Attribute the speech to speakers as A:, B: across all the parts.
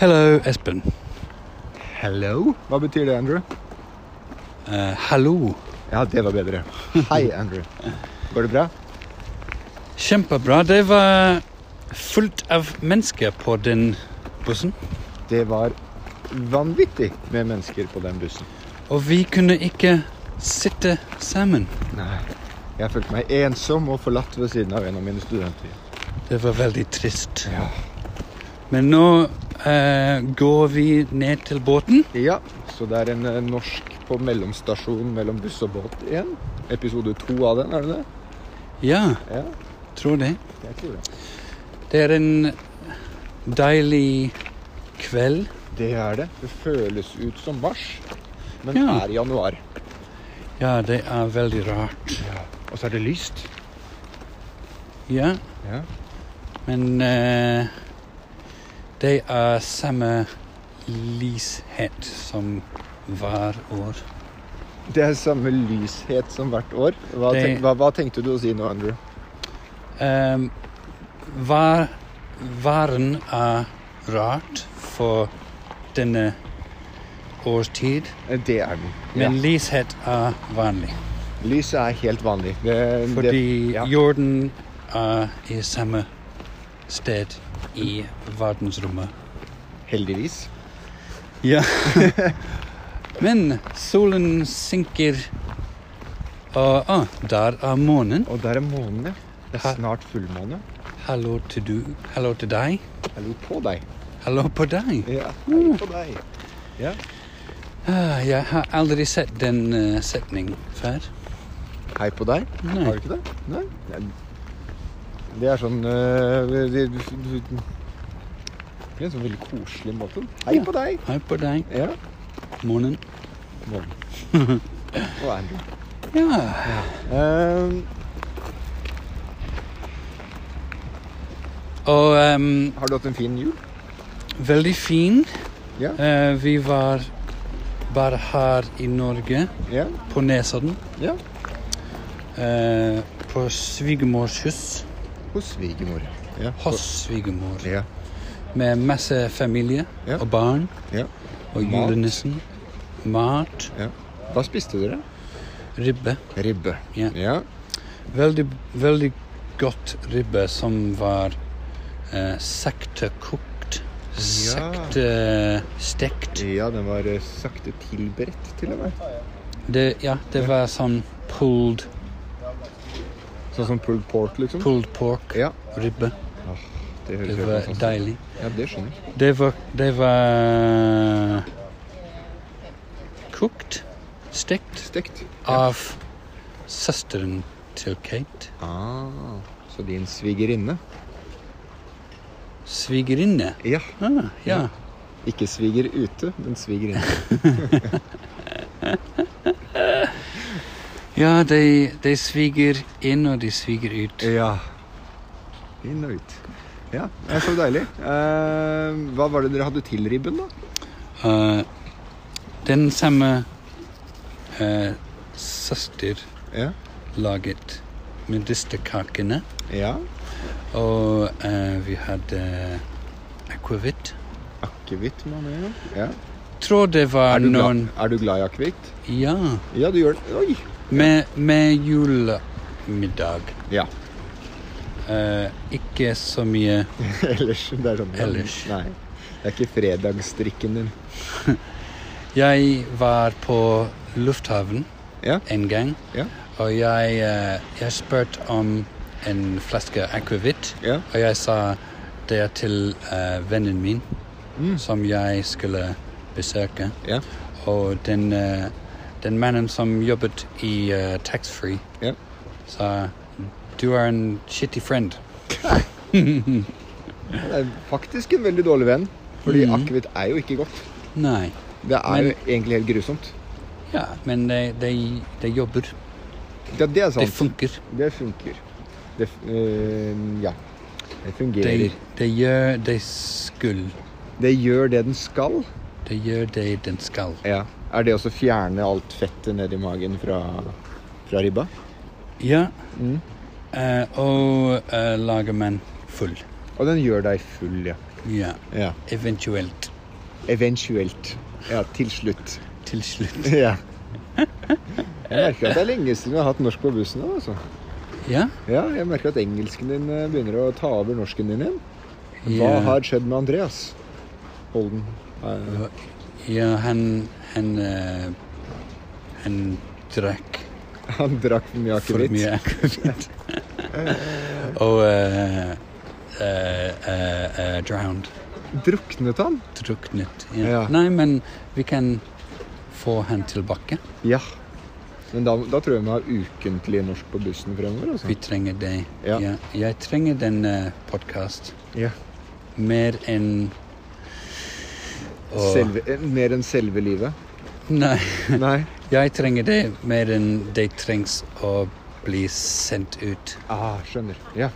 A: Hello, Espen.
B: Hello? Hva betyr det, Andrew?
A: Eh, hallo.
B: Ja, det var bedre. Hei, Andrew. Går det bra?
A: Kjempebra. Det var fullt av mennesker på den bussen.
B: Det var vanvittig med mennesker på den bussen.
A: Og vi kunne ikke sitte sammen.
B: Nei. Jeg følte meg ensom og forlatt ved siden av en av mine studenter.
A: Det var veldig trist.
B: Ja.
A: Men nå eh, går vi ned til båten.
B: ja. Så det er en eh, norsk på mellomstasjon mellom buss og båt igjen. Episode to av den, er det det?
A: Ja,
B: Ja,
A: tror det.
B: jeg tror det.
A: Det er en deilig kveld.
B: Det er det. Det føles ut som mars, men
A: Ja.
B: er januar.
A: Ja, det er veldig rart.
B: Og så er det lyst.
A: Ja,
B: Ja.
A: men eh, det er samme lyshet som hver år.
B: Det er samme lyshet som hvert år. Hva,
A: Det-
B: tenk, hva, hva tenkte du å si nå, Andrew?
A: Um, var, varen er rart for denne årstid,
B: Det er den.
A: men lyshet er vanlig.
B: Lyset er helt vanlig. Det, det,
A: Fordi
B: ja.
A: jorden er i samme sted i verdensrommet.
B: heldigvis.
A: Ja. men solen sinker, og ah, der er månen.
B: Og der er månen, ja. Det
A: Hæ?
B: er snart fullmåne.
A: Hallo til du. Hallo til deg.
B: Hallo på deg.
A: Hallo på deg.
B: Ja, hallo på deg. Ja.
A: Ah, jeg har aldri sett den eh, setningen før.
B: Hei på deg.
A: Nei.
B: Har du ikke det? Nei. Nei. Det er sånn øh, det, det er en sånn veldig koselig måte. Hei
A: Ja.
B: på deg.
A: Hei på deg,
B: Ja.
A: månen.
B: Månen. Og Andrew.
A: Ja.
B: Ehm,
A: Og ehm,
B: har du hatt en fin jul?
A: veldig fin.
B: Ja.
A: Eh, vi var bare her i Norge,
B: Ja.
A: på Nesodden.
B: ja.
A: eh, på svigermors hus.
B: Hos svigermor. Ja.
A: Hos svigermor.
B: Ja.
A: Med masse familie
B: Ja.
A: og barn.
B: ja.
A: Og
B: Mat.
A: julenissen. Mat.
B: ja. Hva spiste dere?
A: Ribbe.
B: Ribbe.
A: Ja. Veldig, veldig godt ribbe som var eh, sakte kokt. Sakte stekt.
B: Ja, den var eh, sakte tilberedt, til og med.
A: Det, ja, det var sånn pulled,
B: Sånn som pulled pork, liksom.
A: pulled pork.
B: Ja.
A: Ribbe.
B: Åh, det
A: Det sånn.
B: høres helt
A: var
B: fantastisk
A: deilig.
B: ut. Ja, det skjønner jeg.
A: Det var, det var eh, kokt, stekt,
B: Stekt.
A: av søsteren til Kate.
B: Ah, så din svigerinne?
A: Svigerinne.
B: Ja.
A: Ah, ja.
B: Ikke sviger ute, men svigerinne.
A: ja, de, de sviger inn og de sviger ut.
B: ja. Inn og ut. Ja, det er så deilig. Eh, hva var det dere hadde til ribben, da?
A: Eh, den samme eh, søster
B: Ja.
A: laget medisterkakene.
B: ja.
A: Og eh, vi hadde akvavitt.
B: Akevitt, man er jo. Ja.
A: Tror det var
B: Er du,
A: noen
B: glad, er du glad i akevitt?
A: Ja.
B: Ja, du gjør det. Oi!
A: Med, med julemiddag.
B: Ja.
A: Eh, ikke så mye
B: Ellers. Det er sånn.
A: Ellers.
B: Nei. Det er ikke fredagsdrikken din.
A: Jeg var på lufthavn
B: Ja.
A: en gang,
B: Ja.
A: og jeg, eh, jeg spurte om en flaske akvavitt.
B: Ja.
A: Og jeg sa det er til eh, vennen min,
B: Mm.
A: som jeg skulle besøke.
B: Ja.
A: Og den, eh, den mannen som jobbet i eh, taxfree,
B: Ja.
A: sa du er en shitty friend.
B: Det er faktisk en veldig dårlig venn. Fordi akevitt er jo ikke godt.
A: Nei.
B: Det er jo egentlig helt grusomt.
A: Ja, men de, de, de jobber.
B: Ja, det er
A: Det
B: sant.
A: funker.
B: Det funker. Det, f- eh, ja. Det
A: De,
B: fungerer.
A: de gjør det skulle.
B: Det gjør det den skal.
A: De gjør det den skal.
B: Ja. Er det også å fjerne alt fettet nedi magen fra, fra ribba?
A: Ja.
B: Mm.
A: eh, og eh, lager man full.
B: Og den gjør deg full, ja.
A: Ja.
B: ja.
A: Eventuelt
B: Eventuelt. Ja, til slutt.
A: til slutt.
B: Ja. Jeg merker at det er lenge siden vi har hatt norsk på bussen. nå, Altså.
A: Ja?
B: Ja, jeg merker at engelsken din eh, begynner å ta over norsken din igjen. Hva
A: Ja.
B: har skjedd med Andreas Holden? Eh,
A: Ja, han Han, eh, han drakk
B: Han drakk for mye
A: for
B: akevitt.
A: mye akevitt. Og eh, eh, eh, eh, drowned.
B: Druknet han?
A: Druknet. Ja.
B: Ja.
A: Nei, men vi kan få han tilbake.
B: Ja. Men da, da tror jeg vi har ukentlig norsk på bussen fremover. Altså.
A: Vi trenger deg.
B: Ja.
A: Jeg trenger eh, denne podkast
B: Ja.
A: mer enn å-
B: Selve, eh, mer enn selve livet.
A: Nei.
B: Nei.
A: Jeg trenger det mer enn det trengs å bli sendt ut.
B: Ah, skjønner. Ja.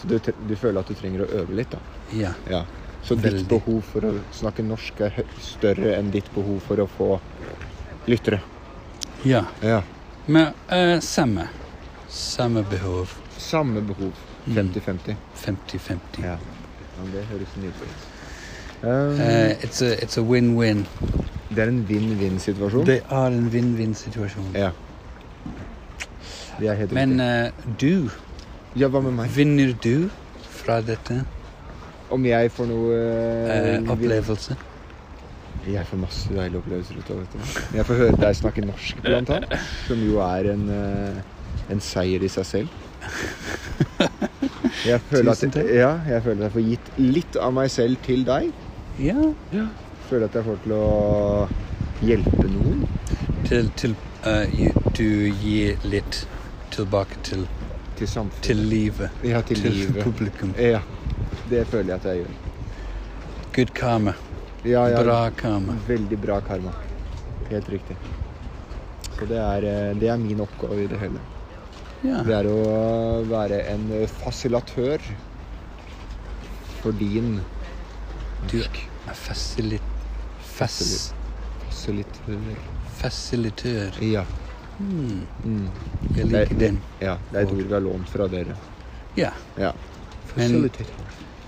B: Så du, tre- du føler at du trenger å øve litt, da?
A: Ja.
B: Ja. Så
A: Veldig.
B: ditt behov for å snakke norsk er hø- større enn ditt behov for å få lyttere?
A: ja.
B: Ja.
A: Men eh, samme. Samme behov.
B: Samme behov.
A: Mm.
B: 50-50.
A: 50-50.
B: Ja. ja. Det høres nydelig ut. Eh,
A: Eh, it's a, it's a win-win.
B: det er en vinn-vinn-situasjon.
A: Det er en vinn-vinn-situasjon.
B: Ja. Det er helt
A: Men
B: riktig.
A: eh, du,
B: Ja, hva med meg?
A: vinner du fra dette
B: Om jeg får noe eh,
A: eh, opplevelse?
B: Jeg får masse deilige opplevelser ut av dette. Jeg får høre deg snakke norsk, blant annet. Som jo er en, eh, en seier i seg selv. Jeg føler,
A: Tusen
B: at,
A: takk.
B: ja, jeg føler at jeg får gitt litt av meg selv til deg.
A: Ja.
B: Føler at jeg får til å hjelpe noen.
A: Til, til eh, gi- du gir litt tilbake til,
B: Til samfunnet.
A: til livet.
B: ja, til, livet.
A: publikum.
B: Ja. Det føler jeg at jeg gjør.
A: Good karma.
B: Ja, ja.
A: Bra karma.
B: Veldig bra karma. Helt riktig. Så det er, eh, det er min oppgave i det hele.
A: Ja.
B: Det er å være en fasilatør for din
A: Du
B: norsk
A: er fasilit... Fas...
B: fasilitør.
A: Fasilitør.
B: Ja.
A: Hmm.
B: Mm.
A: Jeg
B: Det,
A: liker
B: det,
A: den.
B: ja. Det er et ord vi har lånt fra dere.
A: Ja.
B: Ja.
A: Men-
B: Fasilitør.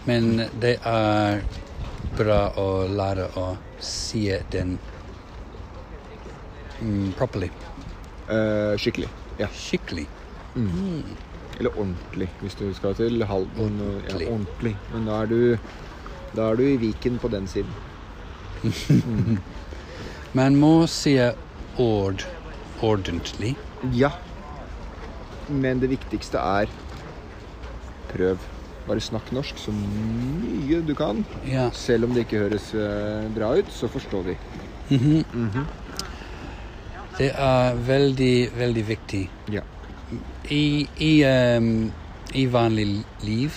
A: Men det er bra å lære å si den mm, properly.
B: Eh, skikkelig. Ja.
A: Skikkelig.
B: Mm.
A: Mm.
B: Eller ordentlig, hvis du skal til Halden. og-
A: Ordentlig.
B: Ja, ordentlig. Men da er, du, da er du i Viken på den siden.
A: Man må si ord ordentlig.
B: Ja. Men det viktigste er prøv. Bare snakk norsk så mye du kan.
A: Ja.
B: Selv om det ikke høres eh, bra ut, så forstår vi.
A: Mhm. Det er veldig, veldig viktig.
B: Ja.
A: I, i, ehm, i vanlig liv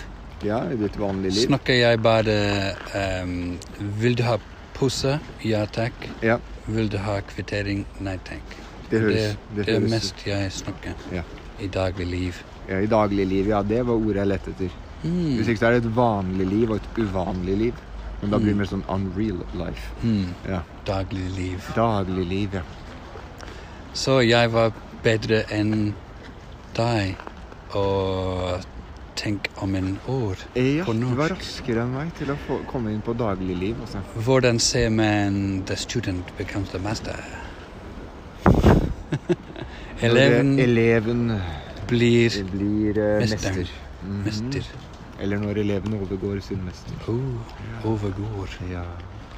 B: Ja, i ditt vanlige liv.
A: snakker jeg bare ehm, Vil du ha pose? Ja takk.
B: Ja,
A: Vil du ha kvittering? Nei takk.
B: det høres.
A: Det, det er
B: høres-
A: mest jeg snakker
B: Ja.
A: i daglig liv.
B: Ja, I dagliglivet, ja. Det var ordet jeg lette etter.
A: Mm.
B: Hvis ikke så er det et vanlig liv og et uvanlig liv. Men da blir det mer sånn unreal life.
A: Mm.
B: Ja.
A: Daglig liv.
B: Daglig liv, ja.
A: Så jeg var bedre enn deg å tenke om en ord.
B: Eh, Ja,
A: På
B: du var
A: norsk.
B: raskere enn meg til å få, komme inn på daglig liv, altså.
A: Hvordan ser man the student becomes the master? Eleven
B: Når, eh, Eleven
A: blir
B: blir eh,
A: Mesteren.
B: mester. Mhm.
A: mester.
B: Eller når eleven overgår sin mester.
A: Oh, overgår.
B: Ja.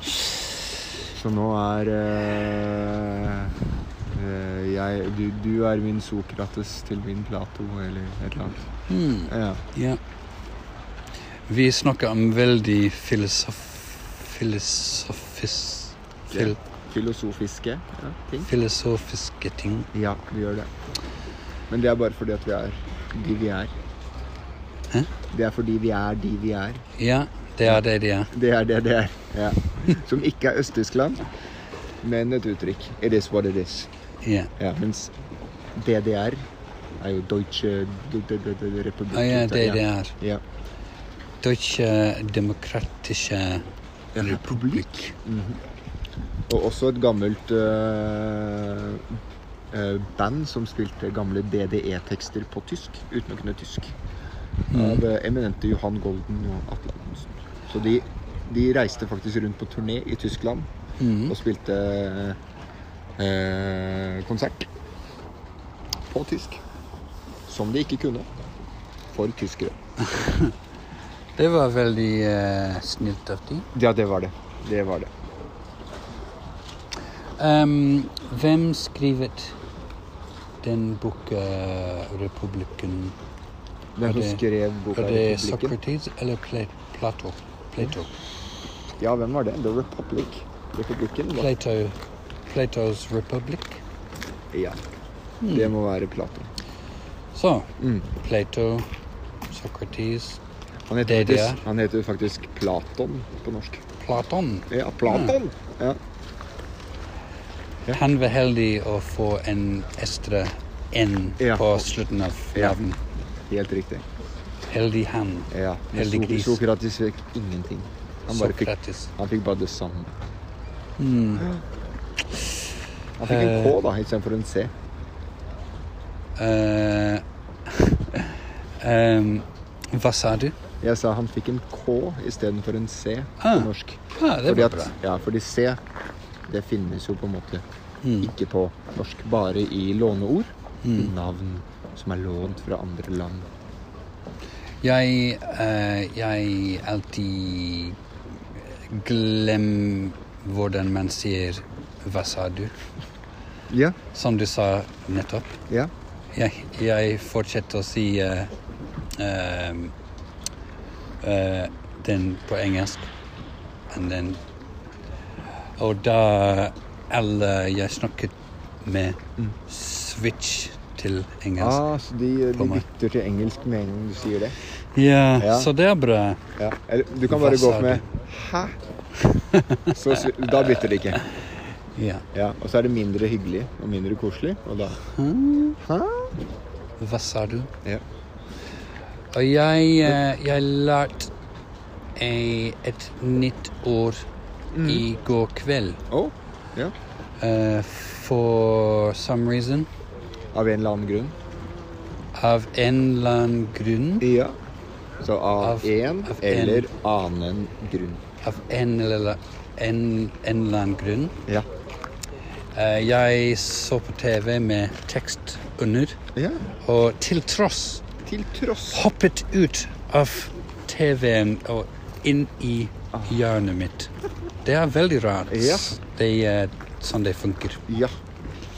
B: Så nå er eh, eh, jeg, du, du er min Sokrates til min Plato, eller et eller annet.
A: Hmm,
B: Ja.
A: ja. Vi snakker om veldig filosof... Filosofis... Fil,
B: Filosofiske ja, ting.
A: filosofiske ting.
B: Ja, vi gjør det. Men det er bare fordi at vi er de vi er.
A: Hæ?
B: Det er fordi vi er de vi er.
A: Ja, det er det det er.
B: Det er det det er. Ja. Som ikke er Øst-Tyskland, men et uttrykk. It is what it is.
A: Ja.
B: Ja, mens DDR er jo Deutsche d- d- d- d- Republik.
A: Ah, ja, det det
B: Ja.
A: er.
B: Ja.
A: Deutsche Demokratische Republik.
B: Og også et gammelt øh, øh, band som spilte gamle DDE-tekster på tysk, uten å Mm. kunne tysk. Av øh, eminente Johan Golden og Atle Antonsen. Så de De reiste faktisk rundt på turné i Tyskland
A: Mhm.
B: og spilte eh, konsert på tysk. Som de ikke kunne. For tyskere.
A: Det var veldig eh, snilt av dem.
B: Ja, det var det. Det var det.
A: Ehm, hvem skrevet den boka 'Republikken'?
B: Den som
A: det-
B: skrev boka
A: Er det
B: Republikken.
A: Socrates eller Pla- Plato? Plato.
B: Ja, hvem var det? The Republic. Republikken? Da.
A: Plato. Plato's Republic.
B: Ja.
A: Hmm.
B: Det må være Platon.
A: Så
B: Mm.
A: Plato, Socrates,
B: Han heter,
A: Det de
B: faktisk, han heter faktisk Platon på norsk.
A: Platon.
B: Ja,
A: Hmm.
B: Platon! Ja. Ja.
A: Han var heldig å få en ekstra N
B: Ja.
A: på slutten av
B: Ja.
A: navnet.
B: Helt riktig.
A: Heldig han.
B: Ja. Men
A: Heldig
B: Sok-
A: gris.
B: Sokrates fikk ingenting. Han, bare fikk,
A: Sokrates.
B: han fikk bare det samme.
A: Mm.
B: Han fikk en K da, istedenfor en C.
A: Eh, ehm, hva sa du?
B: Jeg sa han fikk en K istedenfor en C på
A: Ah.
B: norsk.
A: Ja, det
B: Fordi
A: var
B: at,
A: bra.
B: ja, fordi C, det finnes jo på en måte
A: Mm.
B: ikke på norsk. Bare i låneord. Navn som er lånt fra andre land.
A: Jeg, eh, jeg alltid glemmer hvordan man sier 'hva sa du',
B: Ja,
A: som du sa nettopp.
B: ja.
A: Jeg, jeg fortsetter å si eh, ehm, eh, den på engelsk. And then, og da alle jeg snakket med, switch til engelsk.
B: Mm. Ah, så de,
A: På
B: de
A: meg.
B: bytter til engelsk med en gang du sier det.
A: Ja,
B: Ja.
A: så det er bra.
B: Ja. Eller du kan bare
A: Hva
B: gå
A: sa
B: opp med Hæ? Så, s- da bytter de ikke.
A: Ja.
B: Ja, og så er det mindre hyggelig og mindre koselig, og da Hæ?
A: Hva sa du?
B: Ja.
A: Og jeg, eh, jeg lærte eh, et nytt ord
B: Mm.
A: i går kveld.
B: Å? ja.
A: eh, for some reason.
B: Av en eller annen grunn.
A: Av en eller annen grunn.
B: Ja. Så av,
A: Av-
B: en
A: av en.
B: eller annen grunn.
A: Av en eller, en, en eller annen grunn.
B: Ja.
A: Eh, jeg så på TV med tekst under,
B: ja.
A: og til tross
B: Til tross
A: hoppet ut av TV-en og inn i hjørnet mitt. Det er veldig rart.
B: Ja.
A: Det er sånn det funker.
B: Ja.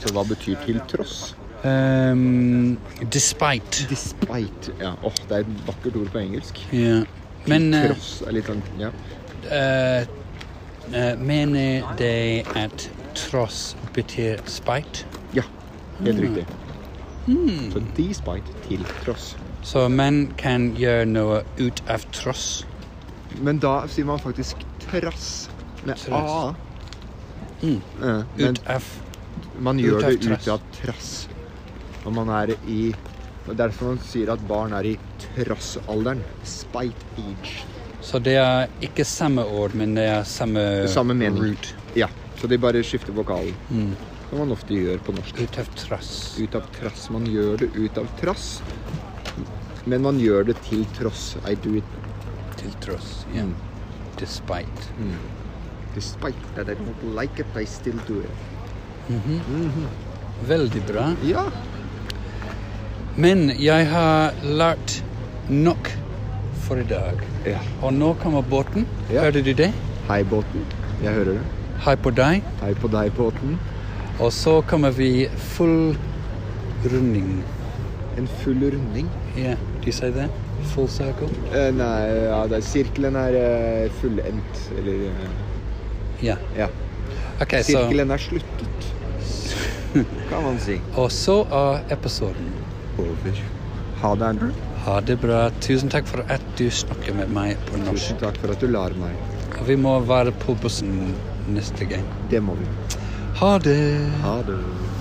B: Så hva betyr til tross?
A: Ehm, despite.
B: Despite. Ja. Åh, det er et vakkert ord på engelsk.
A: Ja. Men eh,
B: tross er litt sånn Ja.
A: eh, eh, mener de at tross betyr spite?
B: ja. Helt
A: Mm.
B: riktig. Så despite til tross.
A: Så man kan gjøre noe ut av tross.
B: Men da sier man faktisk trass med
A: Trass.
B: a. Eh, Men
A: Ut av
B: man
A: ut
B: gjør
A: av
B: det
A: trass.
B: ut av trass. Og man er i og Derfor man sier at barn er i trassalderen. Spite age.
A: Så det er ikke samme ord, men det er samme,
B: Samme mening.
A: root.
B: Ja, så de bare skifter vokalen. Som man ofte gjør på norsk.
A: Ut av tross.
B: Ut av trass. Man gjør det ut av trass. Men man gjør det til tross. I do it
A: Til tross. Ja.
B: Mm.
A: Despite.
B: despite that I don't like it, I still do it.
A: Veldig bra.
B: Ja.
A: Men jeg har lært nok for i dag.
B: ja.
A: Og nå kommer båten.
B: Ja.
A: Hørte du det?
B: Hei, båten. Jeg hører det.
A: Hei på deg.
B: Hei på deg, båten.
A: Og så kommer vi full runding.
B: En full runding.
A: Ja, de sier det? Full circle?
B: Eh, nei, ja, det er, sirkelen er eh, fullendt. Eller eh,
A: Ja.
B: Ja.
A: Ok, så
B: Sirkelen er sluttet. Kan man si.
A: Og så er episoden
B: Over. Ha det, Andrew.
A: Ha det bra. Tusen takk for at du snakker med meg på
B: Tusen
A: norsk.
B: takk for at du lar meg.
A: Og vi må være på bussen neste gang.
B: Det må vi.
A: Ha det.
B: Ha det.